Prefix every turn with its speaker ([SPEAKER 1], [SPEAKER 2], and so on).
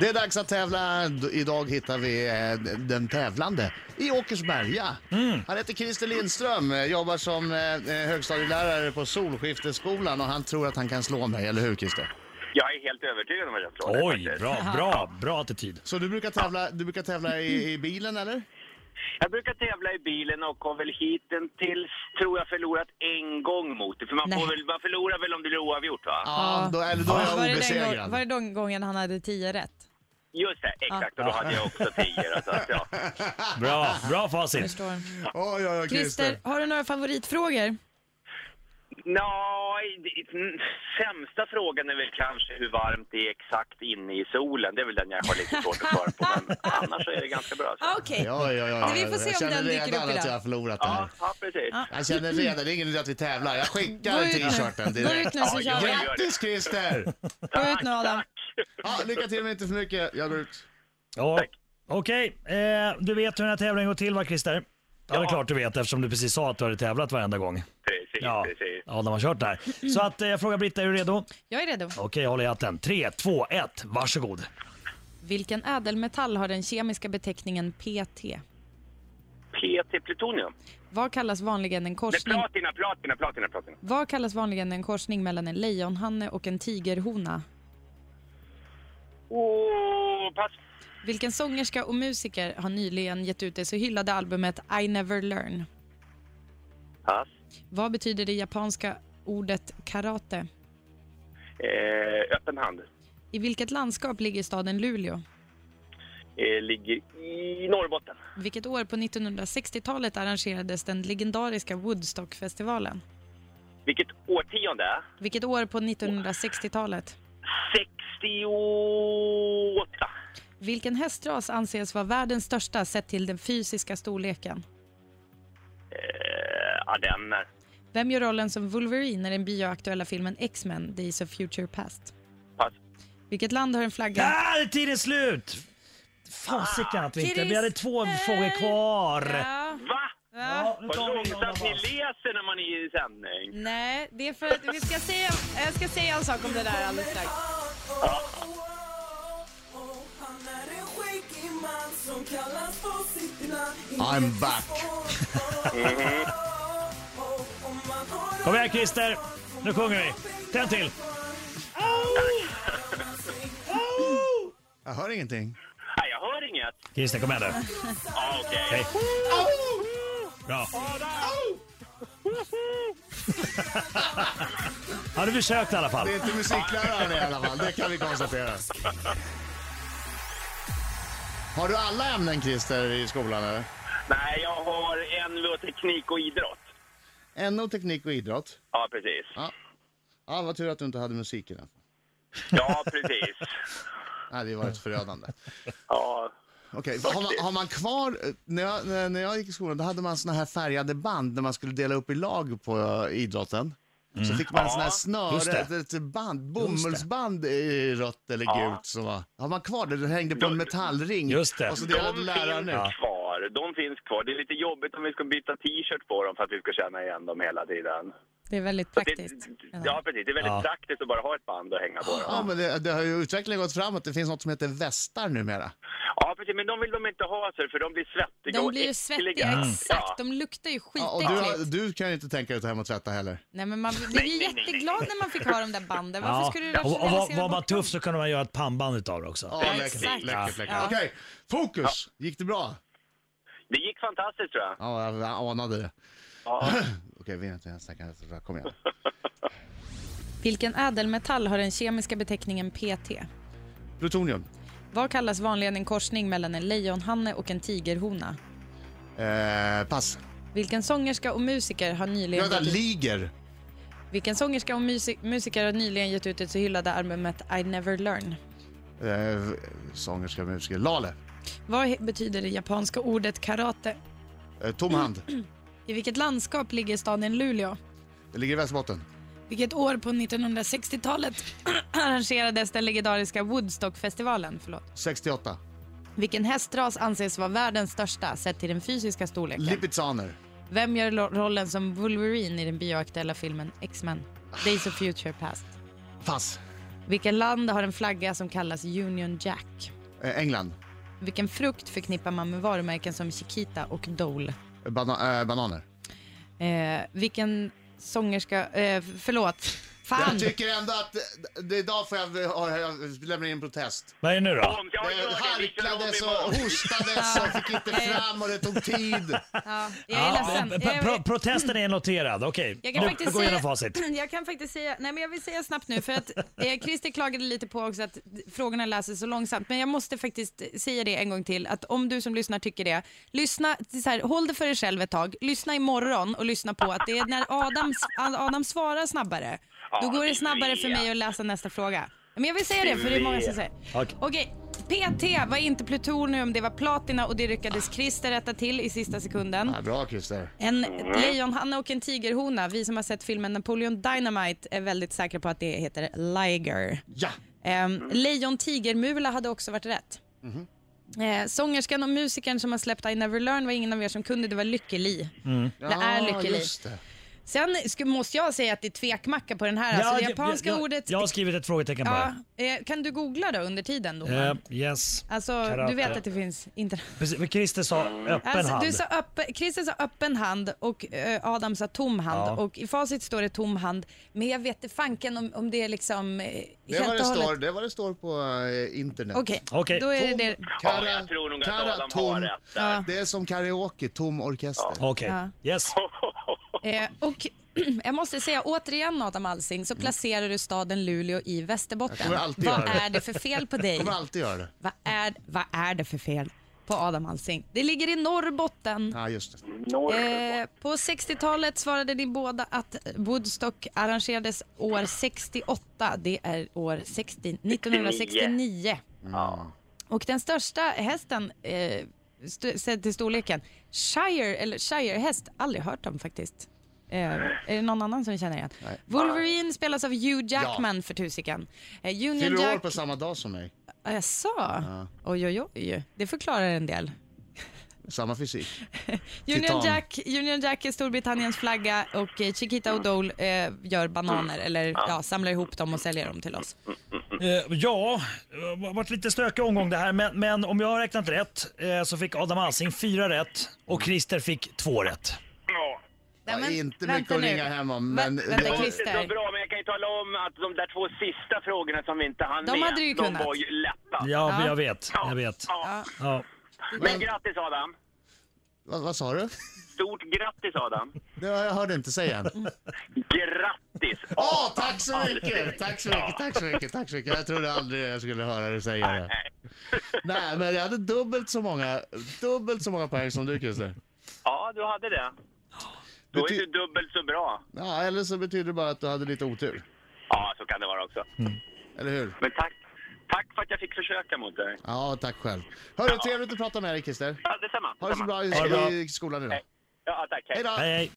[SPEAKER 1] Det är dags att tävla. D- Idag hittar vi eh, den tävlande i Åkersberga. Han heter Christer Lindström, eh, jobbar som eh, eh, högstadielärare på Solskifteskolan och han tror att han kan slå mig, eller hur Christer?
[SPEAKER 2] Jag är helt övertygad om att jag slår det
[SPEAKER 3] Oj,
[SPEAKER 2] faktiskt.
[SPEAKER 3] bra, bra, bra attityd.
[SPEAKER 1] Så du brukar tävla, du brukar tävla i, i bilen eller?
[SPEAKER 2] Jag brukar tävla i bilen och har väl hittills, tror jag, förlorat en gång mot det. För man,
[SPEAKER 4] Nej.
[SPEAKER 2] får väl, man förlorar väl om det blir oavgjort, va?
[SPEAKER 1] Ja, då, eller då är jag
[SPEAKER 4] Var det den gång- Var det
[SPEAKER 1] obesegrad.
[SPEAKER 4] den gången han hade 10 rätt?
[SPEAKER 2] Just det, exakt. Och då hade jag också tio. Alltså, ja.
[SPEAKER 3] Bra, bra facit.
[SPEAKER 4] Förstår.
[SPEAKER 1] Oj, oj, oj,
[SPEAKER 4] Christer, har du några favoritfrågor?
[SPEAKER 2] Nå, i- i- mm, sämsta frågan är väl kanske hur varmt det är exakt inne i solen. Det är väl den jag har lite svårt att svara på, men annars så är det ganska bra. Så.
[SPEAKER 4] Okej.
[SPEAKER 1] Ja, ja, ja,
[SPEAKER 4] Vi får se
[SPEAKER 1] jag
[SPEAKER 4] om
[SPEAKER 1] känner
[SPEAKER 4] den dyker upp
[SPEAKER 1] redan att
[SPEAKER 4] idag.
[SPEAKER 1] jag har förlorat det här.
[SPEAKER 2] Ja, ja, precis.
[SPEAKER 1] Jag känner redan, det är ingen idé att vi tävlar. Jag
[SPEAKER 4] Gå
[SPEAKER 1] skickar
[SPEAKER 4] ut nu.
[SPEAKER 1] t-shirten
[SPEAKER 4] Gå ut
[SPEAKER 1] direkt.
[SPEAKER 4] nu så
[SPEAKER 2] Ja,
[SPEAKER 4] kör
[SPEAKER 2] jag
[SPEAKER 4] vi.
[SPEAKER 2] gör
[SPEAKER 1] Grattis Christer!
[SPEAKER 4] Gå ut nu Adam.
[SPEAKER 1] Ja, lycka till men inte för mycket. Jag går ut.
[SPEAKER 3] Ja.
[SPEAKER 2] Tack.
[SPEAKER 3] Okej, eh, du vet hur den här tävlingen går till va Christer? Ja, det är
[SPEAKER 2] Ja.
[SPEAKER 3] klart du vet eftersom du precis sa att du hade tävlat varenda gång.
[SPEAKER 2] Precis,
[SPEAKER 3] Ja,
[SPEAKER 2] precis.
[SPEAKER 3] ja de har kört där. Så att eh, jag frågar Britta, är du redo? Okej,
[SPEAKER 4] Jag är redo.
[SPEAKER 3] jag håller i hatten. 3, 2, 1, varsågod.
[SPEAKER 4] Vilken ädelmetall har den kemiska beteckningen PT?
[SPEAKER 2] PT plutonium.
[SPEAKER 4] Vad kallas vanligen en
[SPEAKER 2] Nej,
[SPEAKER 4] korsning?
[SPEAKER 2] platina, platina, platina, platina.
[SPEAKER 4] Vad kallas vanligen en korsning mellan en lejonhanne och en tigerhona?
[SPEAKER 2] Åh, pass.
[SPEAKER 4] Vilken sångerska och musiker har nyligen gett ut det så hyllade albumet I Never Learn?
[SPEAKER 2] Pass.
[SPEAKER 4] Vad betyder det japanska ordet karate?
[SPEAKER 2] Eh, öppen hand.
[SPEAKER 4] I vilket landskap ligger staden Luleå?
[SPEAKER 2] Eh, ligger i Norrbotten.
[SPEAKER 4] Vilket år på 1960-talet arrangerades den legendariska Woodstockfestivalen?
[SPEAKER 2] Vilket årtionde?
[SPEAKER 4] Vilket år på 1960-talet?
[SPEAKER 2] 68.
[SPEAKER 4] Vilken hästras anses vara världens största sett till den fysiska storleken?
[SPEAKER 2] Eh, Ardenner.
[SPEAKER 4] Vem gör rollen som Wolverine i den bioaktuella filmen X-Men Days of Future Past?
[SPEAKER 2] Pass.
[SPEAKER 4] Vilket land har en flagga?
[SPEAKER 3] Där Ah, är tiden slut! Fasiken att vi inte... Vi
[SPEAKER 4] Christer!
[SPEAKER 3] hade två frågor kvar.
[SPEAKER 4] Ja,
[SPEAKER 2] Va?
[SPEAKER 3] Ja, nu
[SPEAKER 2] Vad
[SPEAKER 3] tar vi någon av
[SPEAKER 2] långsamt ni
[SPEAKER 3] oss.
[SPEAKER 2] läser när man är i sändning.
[SPEAKER 4] Nej, det är för att vi ska säga, jag ska säga en sak om det där alldeles strax.
[SPEAKER 1] I'm back.
[SPEAKER 3] Kom igen Christer, nu sjunger vi. Tänd till.
[SPEAKER 1] Jag hör ingenting.
[SPEAKER 2] Nej, jag hör inget.
[SPEAKER 3] Christer, kom igen nu.
[SPEAKER 2] Ah, Okej.
[SPEAKER 3] Hej. Bra. Har du försökt i alla fall?
[SPEAKER 1] Det är inte musikläraren i alla fall, det kan vi konstatera. Har du alla ämnen Christer i skolan eller?
[SPEAKER 2] Nej, jag har NVO teknik och idrott.
[SPEAKER 1] NO, teknik och idrott.
[SPEAKER 2] Ja, precis.
[SPEAKER 1] Ja, vad tur att du inte hade musik i den.
[SPEAKER 2] Ja, precis.
[SPEAKER 1] Nej, det var ett förödande.
[SPEAKER 2] Ja.
[SPEAKER 1] Okej, har, man, har man kvar, eh, när jag, när- när jag gick i skolan då hade man såna här färgade band när man skulle dela upp i lag på eh, idrotten. Så fick man en sån här
[SPEAKER 2] Ja,
[SPEAKER 3] Mm. just
[SPEAKER 1] snöre,
[SPEAKER 3] det.
[SPEAKER 1] ett, ett band, bomullsband i rött eller gult. Som var. Har man kvar det? Det hängde på en
[SPEAKER 2] De-
[SPEAKER 1] metallring
[SPEAKER 3] Just det.
[SPEAKER 1] och så
[SPEAKER 2] De
[SPEAKER 1] delade läraren
[SPEAKER 2] finns
[SPEAKER 1] ut.
[SPEAKER 2] kvar. De finns kvar. Det är lite jobbigt om vi ska byta t-shirt på dem för att vi ska känna igen dem hela tiden.
[SPEAKER 4] Det är väldigt
[SPEAKER 2] Så det-
[SPEAKER 4] praktiskt.
[SPEAKER 2] Ja, precis. Det är väldigt
[SPEAKER 3] Ja.
[SPEAKER 2] praktiskt att bara ha ett band att hänga på dem.
[SPEAKER 1] Ja, men det, det har ju utvecklingen gått framåt. Det finns något som heter västar numera.
[SPEAKER 2] Ja, precis. Men de vill de inte ha, så för de blir svettiga
[SPEAKER 4] De
[SPEAKER 2] och
[SPEAKER 4] blir ju
[SPEAKER 2] äckliga. Mm.
[SPEAKER 4] svettiga,
[SPEAKER 2] Ja.
[SPEAKER 4] exakt. De luktar ju
[SPEAKER 1] Ja, och du, har-
[SPEAKER 4] skitäckligt.
[SPEAKER 1] du kan ju inte tänka dig att ta hem och tvätta heller.
[SPEAKER 4] Nej, men man blev ju
[SPEAKER 2] nej, nej, nej.
[SPEAKER 4] jätteglad när man fick ha de där banden. Varför
[SPEAKER 3] Ja.
[SPEAKER 4] skulle du
[SPEAKER 3] Och, och, var,
[SPEAKER 4] rationalisera
[SPEAKER 3] var man
[SPEAKER 4] bort dem?
[SPEAKER 3] tuff så kunde man göra ett pannband utav det också.
[SPEAKER 1] Ja,
[SPEAKER 4] Exakt.
[SPEAKER 1] läckert, läckert, läckert.
[SPEAKER 4] Ja.
[SPEAKER 1] Okej, fokus! Gick det bra?
[SPEAKER 2] Det gick fantastiskt, tror jag.
[SPEAKER 1] Ja, jag jag anade det.
[SPEAKER 2] Ja.
[SPEAKER 1] Okej, vi är inte ens snacka. Kom igen.
[SPEAKER 4] Vilken ädelmetall har den kemiska beteckningen PT?
[SPEAKER 1] Plutonium.
[SPEAKER 4] Vad kallas vanligen en korsning mellan en lejonhanne och en tigerhona?
[SPEAKER 1] Eh, pass.
[SPEAKER 4] Vilken sångerska och musiker har nyligen,
[SPEAKER 1] Vänta,
[SPEAKER 4] gett ut,
[SPEAKER 1] Liger.
[SPEAKER 4] vilken sångerska och musi- musiker har nyligen gett ut det så hyllade albumet I Never Learn?
[SPEAKER 1] Eh, sångerska, musiker. Lale.
[SPEAKER 4] Vad he- betyder det japanska ordet karate?
[SPEAKER 1] Eh, tom hand.
[SPEAKER 4] I vilket landskap ligger staden Luleå?
[SPEAKER 1] Det ligger i Västerbotten.
[SPEAKER 4] Vilket år på 1960-talet arrangerades den legendariska Woodstockfestivalen? Förlåt.
[SPEAKER 1] 68.
[SPEAKER 4] Vilken hästras anses vara världens största sett till den fysiska storleken?
[SPEAKER 1] Lipizzaner.
[SPEAKER 4] Vem gör lo- rollen som Wolverine i den bioaktuella filmen X-Men? Days of Future Past.
[SPEAKER 1] Pass.
[SPEAKER 4] Vilket land har en flagga som kallas Union Jack?
[SPEAKER 1] Eh, England.
[SPEAKER 4] Vilken frukt förknippar man med varumärken som Chiquita och Dole?
[SPEAKER 1] Bana- eh, bananer.
[SPEAKER 4] Eh, vilken sångerska... Eh, förlåt. Fan!
[SPEAKER 1] Jag tycker ändå att det- det, idag får jag, jag, jag lämna in en protest.
[SPEAKER 3] Vad är det nu då?
[SPEAKER 2] Tom, jag hör
[SPEAKER 1] Det
[SPEAKER 2] det, vi kör om
[SPEAKER 1] harklades och
[SPEAKER 2] imorgon.
[SPEAKER 1] hostades och fick inte
[SPEAKER 4] Nej.
[SPEAKER 1] fram och det tog tid.
[SPEAKER 4] Ja, jag är
[SPEAKER 3] p-
[SPEAKER 4] ledsen.
[SPEAKER 3] p-
[SPEAKER 4] Jag-
[SPEAKER 3] pro- protesten är noterad. Okej,
[SPEAKER 4] Jag kan,
[SPEAKER 3] nu
[SPEAKER 4] faktiskt
[SPEAKER 3] går vi
[SPEAKER 4] säga,
[SPEAKER 3] igenom facit.
[SPEAKER 4] jag kan faktiskt säga, nej men jag vill säga snabbt nu för att eh, Christer klagade lite på också att frågorna läses så långsamt men jag måste faktiskt säga det en gång till att om du som lyssnar tycker det, lyssna, så här, håll det för dig själv ett tag, lyssna imorgon och lyssna på att det är när Adam, Adam svarar snabbare, då
[SPEAKER 2] Ja,
[SPEAKER 4] går det
[SPEAKER 2] vi
[SPEAKER 4] snabbare för
[SPEAKER 2] vet.
[SPEAKER 4] mig att läsa nästa fråga. Men jag vill säga det för det är många som säger.
[SPEAKER 3] Okej.
[SPEAKER 4] Okej, PT var inte plutonium, det var platina och det lyckades Christer rätta till i sista sekunden.
[SPEAKER 1] Ja, bra Christer.
[SPEAKER 4] En lejonhanne och en tigerhona. Vi som har sett filmen Napoleon Dynamite är väldigt säkra på att det heter Liger.
[SPEAKER 1] Ja,
[SPEAKER 4] Um, Lejon-tigermula hade också varit rätt.
[SPEAKER 3] Mhm.
[SPEAKER 4] Eh, sångerskan och musikern som har släppt I Never Learn var ingen av er som kunde, det var Lykke Li.
[SPEAKER 3] Mm.
[SPEAKER 4] Det är
[SPEAKER 1] Ja,
[SPEAKER 4] Lykke Li.
[SPEAKER 1] just det.
[SPEAKER 4] Sen sku, måste jag säga att det är tvekmacka på den här.
[SPEAKER 3] Ja,
[SPEAKER 4] alltså det
[SPEAKER 3] jag-
[SPEAKER 4] japanska
[SPEAKER 3] jag,
[SPEAKER 4] ordet...
[SPEAKER 3] Jag har skrivit ett frågetecken
[SPEAKER 4] ja,
[SPEAKER 3] bara.
[SPEAKER 4] eh, kan du googla då under tiden? Då?
[SPEAKER 3] Eh, yes.
[SPEAKER 4] Alltså,
[SPEAKER 3] karate.
[SPEAKER 4] du vet att det finns internet.
[SPEAKER 3] Precis, men Christer sa öppen
[SPEAKER 4] Alltså,
[SPEAKER 3] hand.
[SPEAKER 4] du sa öppen, Christer sa öppen hand och eh, Adam sa tom hand
[SPEAKER 3] Ja.
[SPEAKER 4] och i facit står det tom hand men jag vet inte fanken om, om det är liksom eh,
[SPEAKER 1] Det är, vad
[SPEAKER 4] helt
[SPEAKER 1] det,
[SPEAKER 4] och
[SPEAKER 1] står,
[SPEAKER 4] hållet.
[SPEAKER 1] det är vad det står på eh, internet.
[SPEAKER 4] Okej,
[SPEAKER 3] Okej.
[SPEAKER 4] då är det det.
[SPEAKER 1] Tom,
[SPEAKER 2] Ja, jag tror nog att Adam har
[SPEAKER 1] tom.
[SPEAKER 2] rätt
[SPEAKER 4] Ja.
[SPEAKER 1] Det är som karaoke, tom orkester.
[SPEAKER 3] Okej, yes.
[SPEAKER 4] Eh, och jag måste säga återigen Adam Alsing
[SPEAKER 3] Mm.
[SPEAKER 4] så placerar du staden Luleå i
[SPEAKER 1] Jag
[SPEAKER 4] Västerbotten.
[SPEAKER 1] kommer alltid
[SPEAKER 4] Vad
[SPEAKER 1] göra det.
[SPEAKER 4] är det för fel på
[SPEAKER 1] Jag
[SPEAKER 4] dig?
[SPEAKER 1] kommer alltid göra det.
[SPEAKER 4] Vad är, vad är det för fel på Adam Alsing? Det ligger i Norrbotten.
[SPEAKER 1] Ja, just det.
[SPEAKER 4] Eh, på 60-talet svarade ni båda att Woodstock arrangerades år 68. Det är år 60, 1969.
[SPEAKER 2] Ja.
[SPEAKER 4] Och den största hästen eh, st- sedd till storleken, Shire, eller Shire-häst, aldrig hört om faktiskt. Eh, är det någon annan som känner igen? Wolverine spelas av Hugh Jackman för tusiken. Eh, Union
[SPEAKER 1] Fyller år
[SPEAKER 4] Jack...
[SPEAKER 1] på samma dag som mig.
[SPEAKER 4] Ah, jag sa. Oj, oj, oj. Det förklarar en del.
[SPEAKER 1] Samma fysik.
[SPEAKER 4] Union
[SPEAKER 1] Titan.
[SPEAKER 4] Jack, Union Jack är Storbritanniens flagga och eh, Chiquita O'Dole eh, gör bananer eller ja, samlar ihop dem och säljer dem till oss.
[SPEAKER 3] Eh, ja, det har varit lite stökig omgång det här, men, men om jag har räknat rätt eh, så fick Adam Alsing fyra rätt och Christer fick två rätt.
[SPEAKER 2] Ja.
[SPEAKER 1] Ja,
[SPEAKER 4] men
[SPEAKER 1] inte
[SPEAKER 4] vänta
[SPEAKER 1] mycket att
[SPEAKER 4] nu.
[SPEAKER 1] ringa hem om,
[SPEAKER 4] Vä-
[SPEAKER 1] men
[SPEAKER 2] Det
[SPEAKER 4] vänta,
[SPEAKER 2] var
[SPEAKER 1] det-
[SPEAKER 4] Christer.
[SPEAKER 2] inte så bra, men jag kan ju tala om att de där två sista frågorna som vi inte hann
[SPEAKER 4] De
[SPEAKER 2] med,
[SPEAKER 4] hade du ju
[SPEAKER 2] de
[SPEAKER 4] kunnat.
[SPEAKER 2] var ju lätta.
[SPEAKER 3] Ja, jag vet. Jag vet.
[SPEAKER 2] Ja.
[SPEAKER 3] Ja.
[SPEAKER 2] Men grattis Adam!
[SPEAKER 1] vad, vad sa du?
[SPEAKER 2] Stort grattis Adam!
[SPEAKER 1] Det, jag hörde inte säga än.
[SPEAKER 2] Grattis!
[SPEAKER 1] Åh, tack så mycket! Tack så mycket, tack så mycket, tack så mycket. Jag trodde aldrig jag skulle höra dig säga det. Nej, men jag hade dubbelt så många, dubbelt så många poäng som du Christer.
[SPEAKER 2] Ja, du hade det. Då är
[SPEAKER 1] Bety-
[SPEAKER 2] du dubbelt så bra.
[SPEAKER 1] Ja, eller så betyder det bara att du hade lite otur.
[SPEAKER 2] Ja, så kan det vara också.
[SPEAKER 1] Eller hur?
[SPEAKER 2] Men tack, tack för att jag fick försöka mot dig.
[SPEAKER 1] Ja, tack själv. Hörru, trevligt att prata med dig Christer.
[SPEAKER 2] Ja, detsamma.
[SPEAKER 1] Ha det så
[SPEAKER 2] detsamma.
[SPEAKER 1] bra i,
[SPEAKER 3] Ha det bra.
[SPEAKER 1] i skolan idag.
[SPEAKER 2] Ja, tack.
[SPEAKER 1] Hej då!
[SPEAKER 3] Hej, hej.